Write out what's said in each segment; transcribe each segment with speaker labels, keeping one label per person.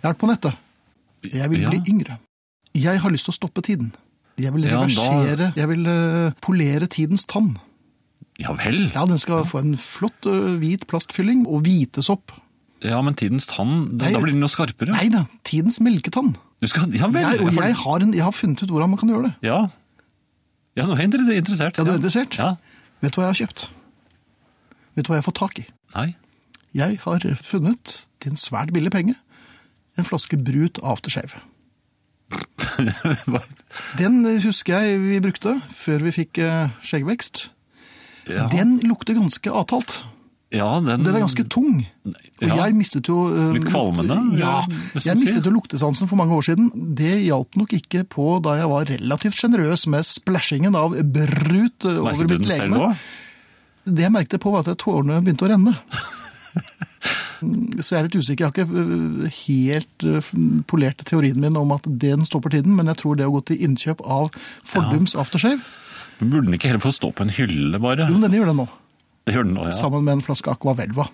Speaker 1: Hjelp på nettet. Jeg vil
Speaker 2: Ja.
Speaker 1: bli yngre. Jeg har lyst til å stoppe tiden. Jeg vil
Speaker 2: Ja, da-
Speaker 1: reversere Jeg vil eh, polere tidens tann.
Speaker 2: Ja vel.
Speaker 1: Ja, den skal få en flott ø, hvit plastfylling og hvite sopp.
Speaker 2: Ja, men tidens tann, da,
Speaker 1: Nei,
Speaker 2: da blir den jo skarpere.
Speaker 1: Nei da, tidens melketann.
Speaker 2: Du skal, ja vel.
Speaker 1: Jeg, og
Speaker 2: for-
Speaker 1: jeg har, en, jeg har funnet ut hvordan man kan gjøre det.
Speaker 2: Ja. Ja, nå er jeg inter- interessert.
Speaker 1: Ja, du er interessert?
Speaker 2: Ja.
Speaker 1: Vet du hva jeg har kjøpt? Vet du hva jeg har fått tak i?
Speaker 2: Nei.
Speaker 1: Jeg har funnet, til en svært billig penge, en flaske brut aftershave. Den husker jeg vi brukte før vi fikk eh, skjeggvekst.
Speaker 2: ja.
Speaker 1: Den lukter ganske avtalt.
Speaker 2: ja, den,
Speaker 1: Den er ganske tung. Og
Speaker 2: Ja.
Speaker 1: jeg mistet jo eh,
Speaker 2: Litt kvalmende,
Speaker 1: Ja.
Speaker 2: vil jeg
Speaker 1: Jeg
Speaker 2: nesten si.
Speaker 1: mistet jo luktesansen for mange år siden. Det hjalp nok ikke på da jeg var relativt sjenerøs med splæsjingen av brut eh, over
Speaker 2: Merket du
Speaker 1: mitt
Speaker 2: den selv
Speaker 1: legeme.
Speaker 2: òg?
Speaker 1: Det jeg merket på, var at tårene begynte å renne. Mm, Så jeg er litt usikker. Jeg har ikke øh, helt øh, f- polert teorien min om at den stopper tiden, men jeg tror det å gå til innkjøp av fordums aftershave
Speaker 2: Men Burde den ikke heller få stå på en hylle, bare?
Speaker 1: Jo, denne gjør det nå.
Speaker 2: Det gjør den nå, ja.
Speaker 1: Sammen med en flaske Aqua Velva.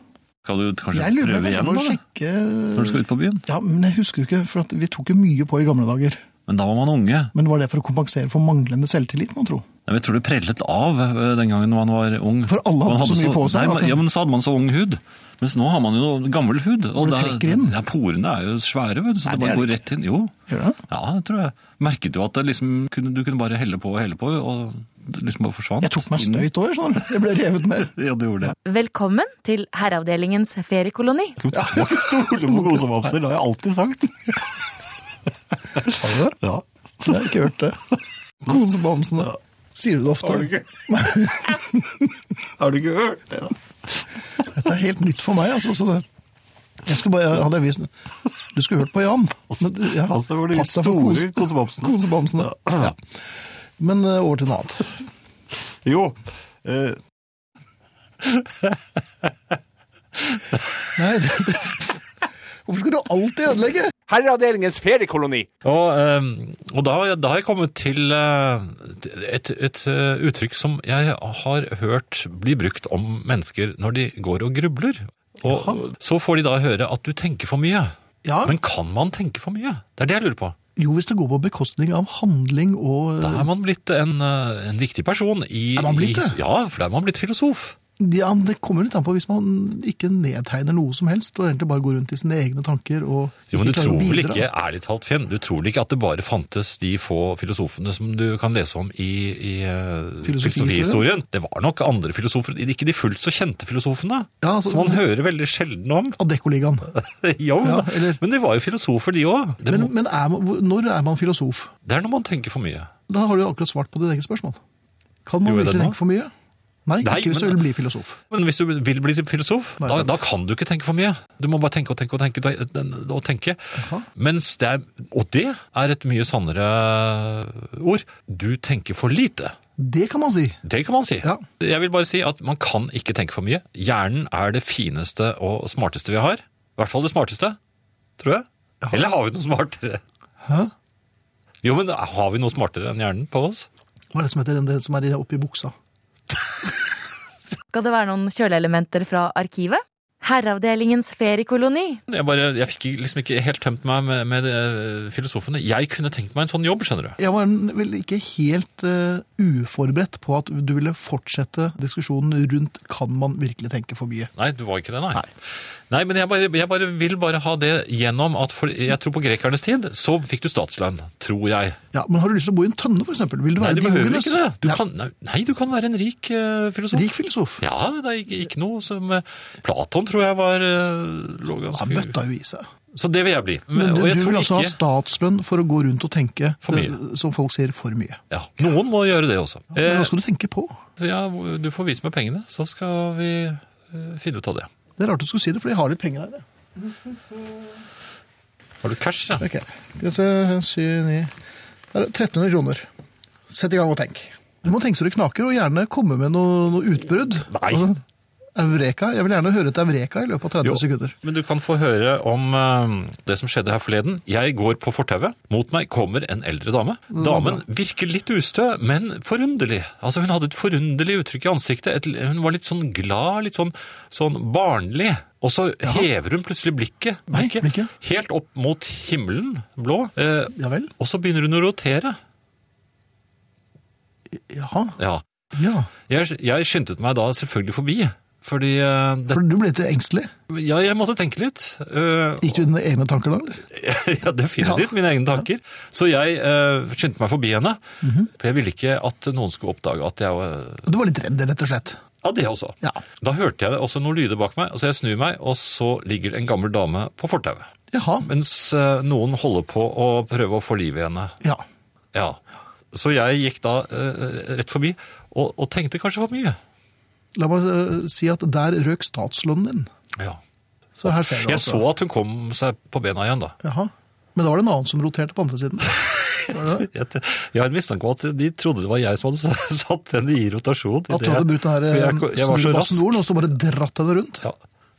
Speaker 2: Skal du kanskje
Speaker 1: Jeg lurer
Speaker 2: prøve
Speaker 1: på
Speaker 2: igjen,
Speaker 1: om
Speaker 2: da?
Speaker 1: jeg sjekke
Speaker 2: Når du skal ut på byen?
Speaker 1: Ja, men jeg husker jo ikke, for at vi tok jo mye på i gamle dager.
Speaker 2: Men da var man unge.
Speaker 1: Men var det for å kompensere for manglende selvtillit, man tro?
Speaker 2: Nei, men Jeg tror det prellet av eh, den gangen man var ung.
Speaker 1: For alle hadde
Speaker 2: Man
Speaker 1: så mye på seg, altså.
Speaker 2: Nei,
Speaker 1: at
Speaker 2: men-
Speaker 1: den-
Speaker 2: ja, men så hadde man så ung hud. Mens nå har man jo gammel hud. Og
Speaker 1: Hvor det
Speaker 2: da-
Speaker 1: trekker inn.
Speaker 2: Ja, porene er jo svære, vet du, så
Speaker 1: Nei, det
Speaker 2: det bare
Speaker 1: er
Speaker 2: går rett inn. Jo.
Speaker 1: Gjør det?
Speaker 2: Ja, det tror jeg. Merket du at det liksom, kunne, du kunne bare helle på og helle på, og det liksom bare forsvant?
Speaker 1: Jeg tok meg
Speaker 2: inn?
Speaker 1: støyt òg, skjønner du. Jeg ble revet med.
Speaker 2: Ja, du gjorde det.
Speaker 3: Velkommen til Herreavdelingens feriekoloni.
Speaker 2: Ja, jeg må ikke stole på kosemamser, det har jeg alltid sagt.
Speaker 1: Har du det?
Speaker 2: Ja.
Speaker 1: Jeg har ikke hørt det. Kosebamsene. Sier du det ofte?
Speaker 2: Har du ikke hørt det?
Speaker 1: Dette er helt nytt for meg, altså. Så det. Jeg skulle bare, hadde jeg vist Du skulle hørt på Jan. Men, ja,
Speaker 2: Pass deg for de store kosebamsene.
Speaker 1: kosebamsene. Ja. Men eh, over til noe annet.
Speaker 2: Jo.
Speaker 1: Nei, det, hvorfor skal du alltid ødelegge?
Speaker 4: Herreavdelingens feriekoloni.
Speaker 5: Og, eh, og da, har jeg- da har jeg kommet til eh, et, et eh, uttrykk som jeg har hørt bli brukt om mennesker når de går og grubler. Og så får de da høre at du tenker for mye.
Speaker 1: Ja.
Speaker 5: Men kan man tenke for mye? Det er det jeg lurer på.
Speaker 1: Jo, hvis det går på bekostning av handling og eh,
Speaker 5: Da er man blitt en, eh, en viktig person i
Speaker 1: Er man blitt
Speaker 5: i-
Speaker 1: det?
Speaker 5: Ja, for da er man blitt filosof.
Speaker 1: ja, Det kommer litt an på hvis man ikke nedtegner noe som helst, og egentlig bare går rundt i sine egne tanker og
Speaker 5: Jo, men du
Speaker 1: ikke klarer å
Speaker 5: tror vel
Speaker 1: bidra.
Speaker 5: ikke, ærlig talt, Finn, du tror vel ikke at det bare fantes de få filosofene som du kan lese om i, i eh,
Speaker 1: Filosofihistorien?
Speaker 5: filosofihistorien? Det var nok andre filosofer, ikke de fullt så kjente filosofene,
Speaker 1: Ja, altså-
Speaker 5: som man hører veldig sjelden om.
Speaker 1: Adeccoligaen.
Speaker 5: jo,
Speaker 1: Ja,
Speaker 5: da.
Speaker 1: eller-
Speaker 5: men de var jo filosofer, de òg. Det,
Speaker 1: Men,
Speaker 5: må-
Speaker 1: men er man, hvor- når er man filosof?
Speaker 5: det er når man tenker for mye.
Speaker 1: Da har du akkurat svart på ditt eget spørsmål. Kan man
Speaker 5: Gjorde jeg det
Speaker 1: virkelig
Speaker 5: nå?
Speaker 1: tenke for mye? Nei,
Speaker 5: Nei,
Speaker 1: ikke hvis
Speaker 5: men-
Speaker 1: du vil bli filosof.
Speaker 5: Men hvis du vil bli filosof,
Speaker 1: Nei,
Speaker 5: da,
Speaker 1: sant.
Speaker 5: da kan du ikke tenke for mye. Du må bare tenke og tenke og tenke. Og, tenke. Mens det er, og det er et mye sannere eh, ord. Du tenker for lite.
Speaker 1: Det kan man si.
Speaker 5: Det kan man si.
Speaker 1: Ja.
Speaker 5: Jeg vil bare si at man kan ikke tenke for mye. Hjernen er det fineste og smarteste vi har. I hvert fall det smarteste, tror jeg. Eller har vi noe smartere?
Speaker 1: Hæ?
Speaker 5: Jo, men har vi noe smartere enn hjernen på oss?
Speaker 1: Hva er det som heter den det som er i- oppi buksa?
Speaker 3: Skal det være noen kjøleelementer fra arkivet? Herreavdelingens feriekoloni.
Speaker 5: Jeg, bare, jeg fikk liksom ikke helt tømt meg med, med eh, filosofene. Jeg kunne tenkt meg en sånn jobb, skjønner du.
Speaker 1: Jeg var vel ikke helt eh, uforberedt på at du ville fortsette diskusjonen rundt kan man virkelig tenke for mye.
Speaker 5: Nei, du var ikke det, nei. Nei, men jeg, bare, jeg bare vil bare ha det gjennom at for, jeg tror på grekernes tid så fikk du statslønn, tror jeg.
Speaker 1: Ja, Men har du lyst til å bo i en tønne, for eksempel? Vil du
Speaker 5: Nei,
Speaker 1: være
Speaker 5: du behøver
Speaker 1: Diogenes?
Speaker 5: ikke det. Du
Speaker 1: Nei,
Speaker 5: kan, nei, nei, du kan være en rik eh, filosof.
Speaker 1: Rik filosof.
Speaker 5: Ja, det er ikke, ikke noe som eh, Platon tror jeg var eh, lå
Speaker 1: Han
Speaker 5: ganske
Speaker 1: bøtta jo i seg.
Speaker 5: Så det vil jeg bli.
Speaker 1: Men du,
Speaker 5: og jeg
Speaker 1: du
Speaker 5: tror
Speaker 1: vil altså ha
Speaker 5: ikke-
Speaker 1: statslønn for å gå rundt og tenke,
Speaker 5: For mye. Eh.
Speaker 1: eh, som folk sier, for mye.
Speaker 5: ja, Noen må gjøre det også.
Speaker 1: Men
Speaker 5: Eh,
Speaker 1: hva skal du tenke på?
Speaker 5: ja, du får vise meg pengene, så skal vi eh, finne ut av det.
Speaker 1: Det er rart du skulle si det, for de har litt penger her.
Speaker 5: Har du cash, ja?
Speaker 1: Ok, skal vi se, 7, 9 Der er det 1300 kroner. Sett i gang og tenk. Du må tenke så du knaker, og gjerne komme med noe, noe utbrudd.
Speaker 5: Nei.
Speaker 1: Altså, Eureka. Jeg vil gjerne høre et Eureka i løpet av 30
Speaker 2: Jo.
Speaker 1: sekunder.
Speaker 2: Men du kan få høre om eh, det som skjedde her forleden. Jeg går på fortauet. Mot meg kommer en eldre dame.
Speaker 1: Mm.
Speaker 2: Damen virker litt ustø, men forunderlig. Altså Hun hadde et forunderlig uttrykk i ansiktet. Et, hun var litt sånn glad, litt sånn, sånn barnlig. Og så hever hun plutselig blikket,
Speaker 1: Nei, blikket.
Speaker 2: helt opp mot himmelen, blå. Eh,
Speaker 1: Ja vel?
Speaker 2: og så begynner hun å rotere.
Speaker 1: Jaha.
Speaker 2: Ja.
Speaker 1: Ja.
Speaker 2: Jeg, jeg skyndte meg da selvfølgelig forbi. Fordi eh, det,
Speaker 1: For du ble litt engstelig?
Speaker 2: Ja, jeg måtte tenke litt. eh,
Speaker 1: Gikk du i dine egne tanker da? eller?
Speaker 2: ja, definitivt. Mine egne tanker. Så jeg eh, skyndte meg forbi henne.
Speaker 1: Mhm.
Speaker 2: For jeg ville ikke at noen skulle oppdage at jeg var
Speaker 1: Du var litt redd, rett og slett?
Speaker 2: Av det også.
Speaker 1: Ja.
Speaker 2: Da hørte jeg også noen lyder bak meg, så jeg snur meg, og så ligger det en gammel dame på fortauet.
Speaker 1: Jaha.
Speaker 2: Mens eh, noen holder på å prøve å få liv i henne.
Speaker 1: Ja.
Speaker 2: Ja. Så jeg gikk da eh, rett forbi, og, og tenkte kanskje for mye.
Speaker 1: La meg eh, si at der røk statslønnen din.
Speaker 2: Ja.
Speaker 1: Så her ser du
Speaker 2: Jeg
Speaker 1: altså.
Speaker 2: så at hun kom seg på bena igjen, da.
Speaker 1: Jaha. Men da var det en annen som roterte på andre siden. Var det det?
Speaker 2: Jeg, jeg har en mistanke om at de trodde det var jeg som hadde satt henne i rotasjon. i
Speaker 1: At du
Speaker 2: det-
Speaker 1: hadde brukt den
Speaker 2: For jeg,
Speaker 1: her eh,
Speaker 2: jeg var så rask.
Speaker 1: snurrebassen-jorden, og så bare dratt henne rundt.
Speaker 2: Ja,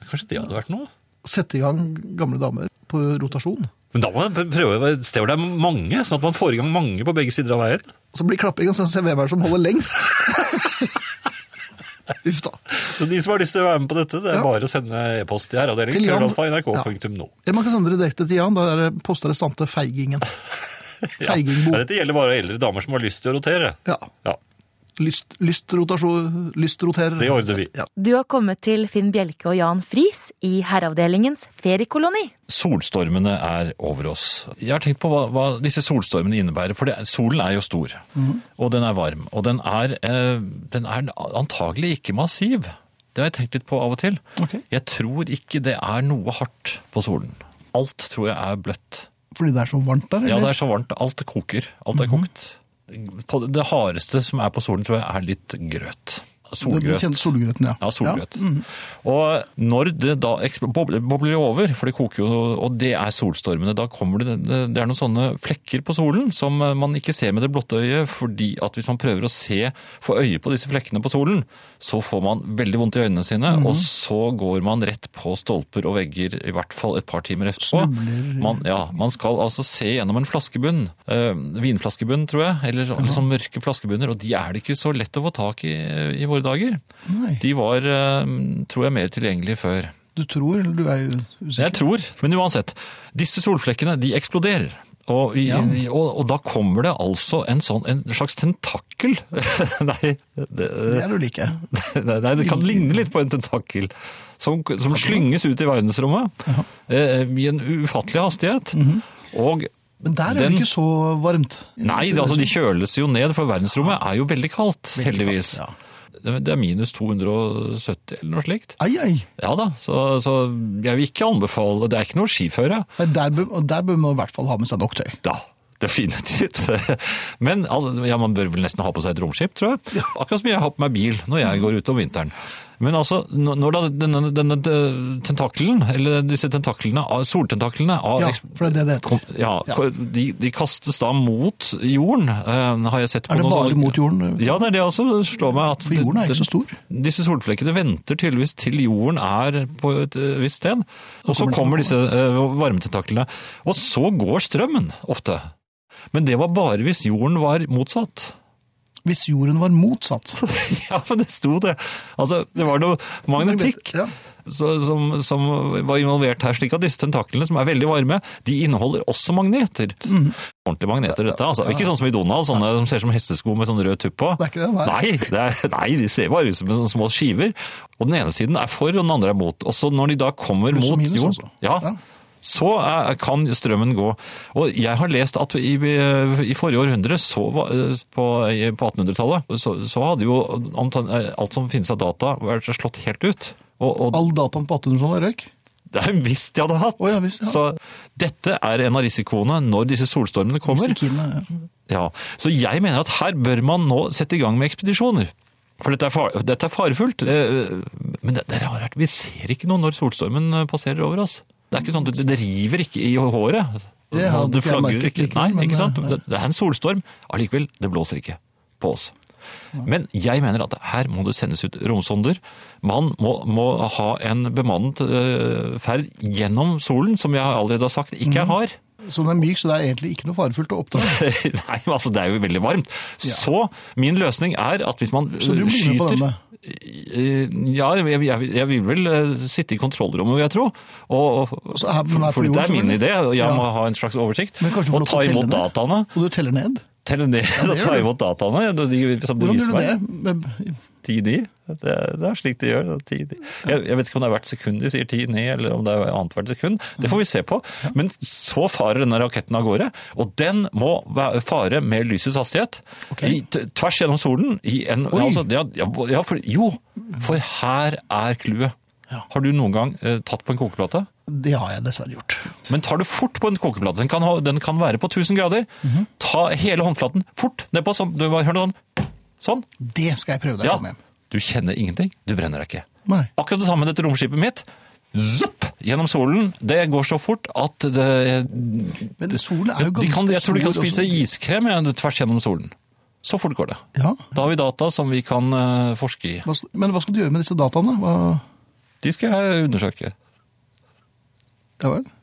Speaker 2: kanskje det hadde vært noe?
Speaker 1: Sette i gang gamle damer på rotasjon.
Speaker 2: Men da må man prøve et sted hvor det er mange, sånn at man får i gang mange på begge sider av veien.
Speaker 1: Så blir klappingen, sånn, så ser vi hvem er det som holder lengst. Uff da.
Speaker 2: Så de som har lyst til å være med på dette, det er
Speaker 1: Ja.
Speaker 2: bare å sende e-post til
Speaker 1: Til Jan.
Speaker 2: herreavdelingen.nrk.no.
Speaker 1: Eller man kan sende det direkte til Jan, da er det postarrestante Feigingen. Feigingbo.
Speaker 2: Ja, dette gjelder bare eldre damer som har lyst til å rotere.
Speaker 1: Ja.
Speaker 2: Ja,
Speaker 1: Lyst, lystrotasjon, lystroterer.
Speaker 2: Det ordner vi.
Speaker 1: Ja.
Speaker 3: Du har kommet til Finn Bjelke og Jan Friis i Herreavdelingens feriekoloni.
Speaker 5: Solstormene er over oss. Jeg har tenkt på hva, hva disse solstormene innebærer. For det, solen er jo stor, og den er varm. Og den er, eh, den er antagelig ikke massiv. Det har jeg tenkt litt på av og til.
Speaker 1: Ok.
Speaker 5: Jeg tror ikke det er noe hardt på solen. Alt tror jeg er bløtt.
Speaker 1: Fordi det er så varmt der, eller?
Speaker 5: Ja, det er så varmt. Alt koker. Alt er kokt. På det hardeste som er på solen, tror jeg er litt grøt.
Speaker 1: Den
Speaker 5: Solgrøt.
Speaker 1: kjente solgrøten, ja.
Speaker 5: Ja, solgrøt. Og når det da ekspl- boble- bobler over, for det koker jo, og det er solstormene, da kommer det, det det er noen sånne flekker på solen som eh, man ikke ser med det blotte øyet, fordi at hvis man prøver å se, få øye på disse flekkene på solen, så får man veldig vondt i øynene sine, og så går man rett på stolper og vegger, i hvert fall et par timer etterpå. Man, ja, man skal altså se gjennom en flaskebunn, eh, vinflaskebunn tror jeg, eller liksom mørke flaskebunner, og de er det ikke så lett å få tak i eh, i våre dager.
Speaker 1: Nei,
Speaker 5: De var, eh, tror jeg, mer tilgjengelige før.
Speaker 1: du tror, eller du er jo usikker.
Speaker 5: Jeg tror, men uansett. Disse solflekkene, de eksploderer. Og, i, i- og, og da kommer det altså en, sånn, en slags tentakkel. nei, det,
Speaker 1: Det er du like.
Speaker 5: nei, nei, det kan ligne litt på en tentakkel. Som, som slynges ut i verdensrommet eh, i en ufattelig hastighet. Og
Speaker 1: Men der er
Speaker 5: Den-
Speaker 1: det ikke så varmt.
Speaker 5: Nei, det, altså de kjøles jo ned, for verdensrommet er jo veldig kaldt, heldigvis. Det det er minus 270 eller noe slikt.
Speaker 1: Ai, ai.
Speaker 5: Ja da, så, så jeg vil ikke anbefale Det er ikke noe skiføre.
Speaker 1: Nei, der, bør, og der bør man i hvert fall ha med seg nok tøy.
Speaker 5: Da, definitivt. Men altså, ja, man bør vel nesten ha på seg et romskip, tror jeg. Akkurat som jeg har på meg bil når jeg går ut om vinteren. Men altså, når når da denne, denne tentakelen, eller disse tentaklene, av- soltentaklene av
Speaker 1: Ja, for det er det det heter.
Speaker 5: Kom- Ja,
Speaker 1: Ja.
Speaker 5: ko- De, de kastes da mot jorden, eh, har jeg sett på
Speaker 1: Er det
Speaker 5: noen
Speaker 1: bare
Speaker 5: sånne-
Speaker 1: mot jorden?
Speaker 5: Ja, det er det også slår meg. At
Speaker 1: For jorden er ikke så stor.
Speaker 5: Disse solflekkene venter tydeligvis til jorden er på et eh, visst sted. Og så
Speaker 1: kommer
Speaker 5: kommer
Speaker 1: det
Speaker 5: disse eh, varmetentaklene. Og så går strømmen ofte. Men det var bare hvis jorden var motsatt.
Speaker 1: Hvis jorden var motsatt.
Speaker 5: ja, men det sto det. Altså, det var noe magnetikk
Speaker 1: Ja.
Speaker 5: så, som, som var involvert her. Slik at disse tentaklene, som er veldig varme, de inneholder også magneter.
Speaker 1: Mm.
Speaker 5: Ordentlige magneter, dette. altså. Ikke sånn som i Donald, sånne som ser ut som hestesko med sånn rød tupp på.
Speaker 1: Det er ikke det, nei.
Speaker 5: Nei, det er, nei de ser bare ut som sånne små skiver. Og den ene siden er for, og den andre er mot. Og så når de da kommer
Speaker 1: Pluss og
Speaker 5: mot
Speaker 1: minus,
Speaker 5: jorden,
Speaker 1: altså.
Speaker 5: ja,
Speaker 1: Ja.
Speaker 5: så eh, kan strømmen gå. Og jeg har lest at i, i forrige århundre, så, var- eh, på, i- på 1800-tallet, så, så hadde jo omtrent, eh, alt som finnes av data vært slått helt ut. Og, og
Speaker 1: All dataen på 1800-tallet røyk.
Speaker 5: det er visst de hadde hatt.
Speaker 1: Å ja, visst, ja.
Speaker 5: Så dette er en av risikoene når disse solstormene kommer.
Speaker 1: Sikine, ja.
Speaker 5: Ja, så jeg mener at her bør man nå sette i gang med ekspedisjoner. For dette er, far, dette er farefullt. Eh, Men det, det er rart, vi ser ikke noe når solstormen eh, passerer over oss. Det er ikke sånn, at det, det river ikke i håret.
Speaker 1: Det hadde
Speaker 5: Og
Speaker 1: ikke jeg merket
Speaker 5: flagrer ikke.
Speaker 1: likevel,
Speaker 5: Nei,
Speaker 1: men,
Speaker 5: ikke sant?
Speaker 1: eh,
Speaker 5: Det, det er en solstorm. Allikevel, det blåser ikke på oss. Men jeg mener at her må det sendes ut romsonder. Man må, må ha en bemannet eh, ferd gjennom solen, som jeg allerede har sagt ikke
Speaker 1: Mhm.
Speaker 5: jeg har.
Speaker 1: Så den er myk, så det er egentlig ikke noe farefullt å oppdage.
Speaker 5: Nei, men altså det er jo veldig varmt.
Speaker 1: Ja.
Speaker 5: Så min løsning er at hvis man
Speaker 1: Så du blir
Speaker 5: eh,
Speaker 1: med på
Speaker 5: skyter
Speaker 1: denne?
Speaker 5: Eh, Ja, jeg, jeg, jeg vil vel eh, sitte i kontrollrommet, vil jeg tro. Og, og,
Speaker 1: så er- men er på
Speaker 5: for det
Speaker 1: jorden,
Speaker 5: er min
Speaker 1: selvfølgelig.
Speaker 5: idé, og jeg
Speaker 1: Ja.
Speaker 5: må ha en slags oversikt.
Speaker 1: Men kanskje du får
Speaker 5: Og
Speaker 1: lov til
Speaker 5: ta
Speaker 1: å telle
Speaker 5: imot
Speaker 1: ned?
Speaker 5: dataene.
Speaker 1: Og du teller ned?
Speaker 5: Telle ned og
Speaker 1: det gjør
Speaker 5: ta
Speaker 1: du.
Speaker 5: imot dataene. ja, De, som de
Speaker 1: Hvordan gjør
Speaker 5: viser
Speaker 1: du det?
Speaker 5: meg.
Speaker 1: Med-
Speaker 5: 10-9. Det, er- det er slik de gjør. det er 10-9. Jeg, jeg vet ikke om det er hvert sekund de sier 10-9, eller om det er annethvert sekund. Det får vi se på. Men så farer denne raketten av gårde, og den må væ- fare med lysets hastighet.
Speaker 1: Ok.
Speaker 5: I, t- tvers gjennom solen. I en,
Speaker 1: Oi.
Speaker 5: altså, ja, ja, ja, for, jo, for her er clouet. Har du noen gang eh, tatt på en kokeplate?
Speaker 1: Det har jeg dessverre gjort.
Speaker 5: Men tar du fort på en kokeplate, den kan, ha, den kan være på 1000 grader,
Speaker 1: Mhm.
Speaker 5: ta hele håndflaten fort nedpå, sånn, du hører noe sånn, sånn,
Speaker 1: Det skal jeg prøve da jeg kommer
Speaker 5: ja,
Speaker 1: hjem.
Speaker 5: du kjenner ingenting, du brenner deg ikke.
Speaker 1: Nei.
Speaker 5: Akkurat det samme med dette romskipet mitt. Zopp! Gjennom solen. Det går så fort at det,
Speaker 1: Men solen er jo
Speaker 5: de
Speaker 1: ganske
Speaker 5: kan, Jeg tror de kan
Speaker 1: stor
Speaker 5: spise
Speaker 1: også.
Speaker 5: iskrem ja, tvers gjennom solen. Så fort går det.
Speaker 1: Ja.
Speaker 5: Da har vi data som vi kan eh, forske i.
Speaker 1: Hva s- Men hva skal du gjøre med disse dataene? Hva...
Speaker 5: De skal jeg undersøke.
Speaker 1: Ja vel?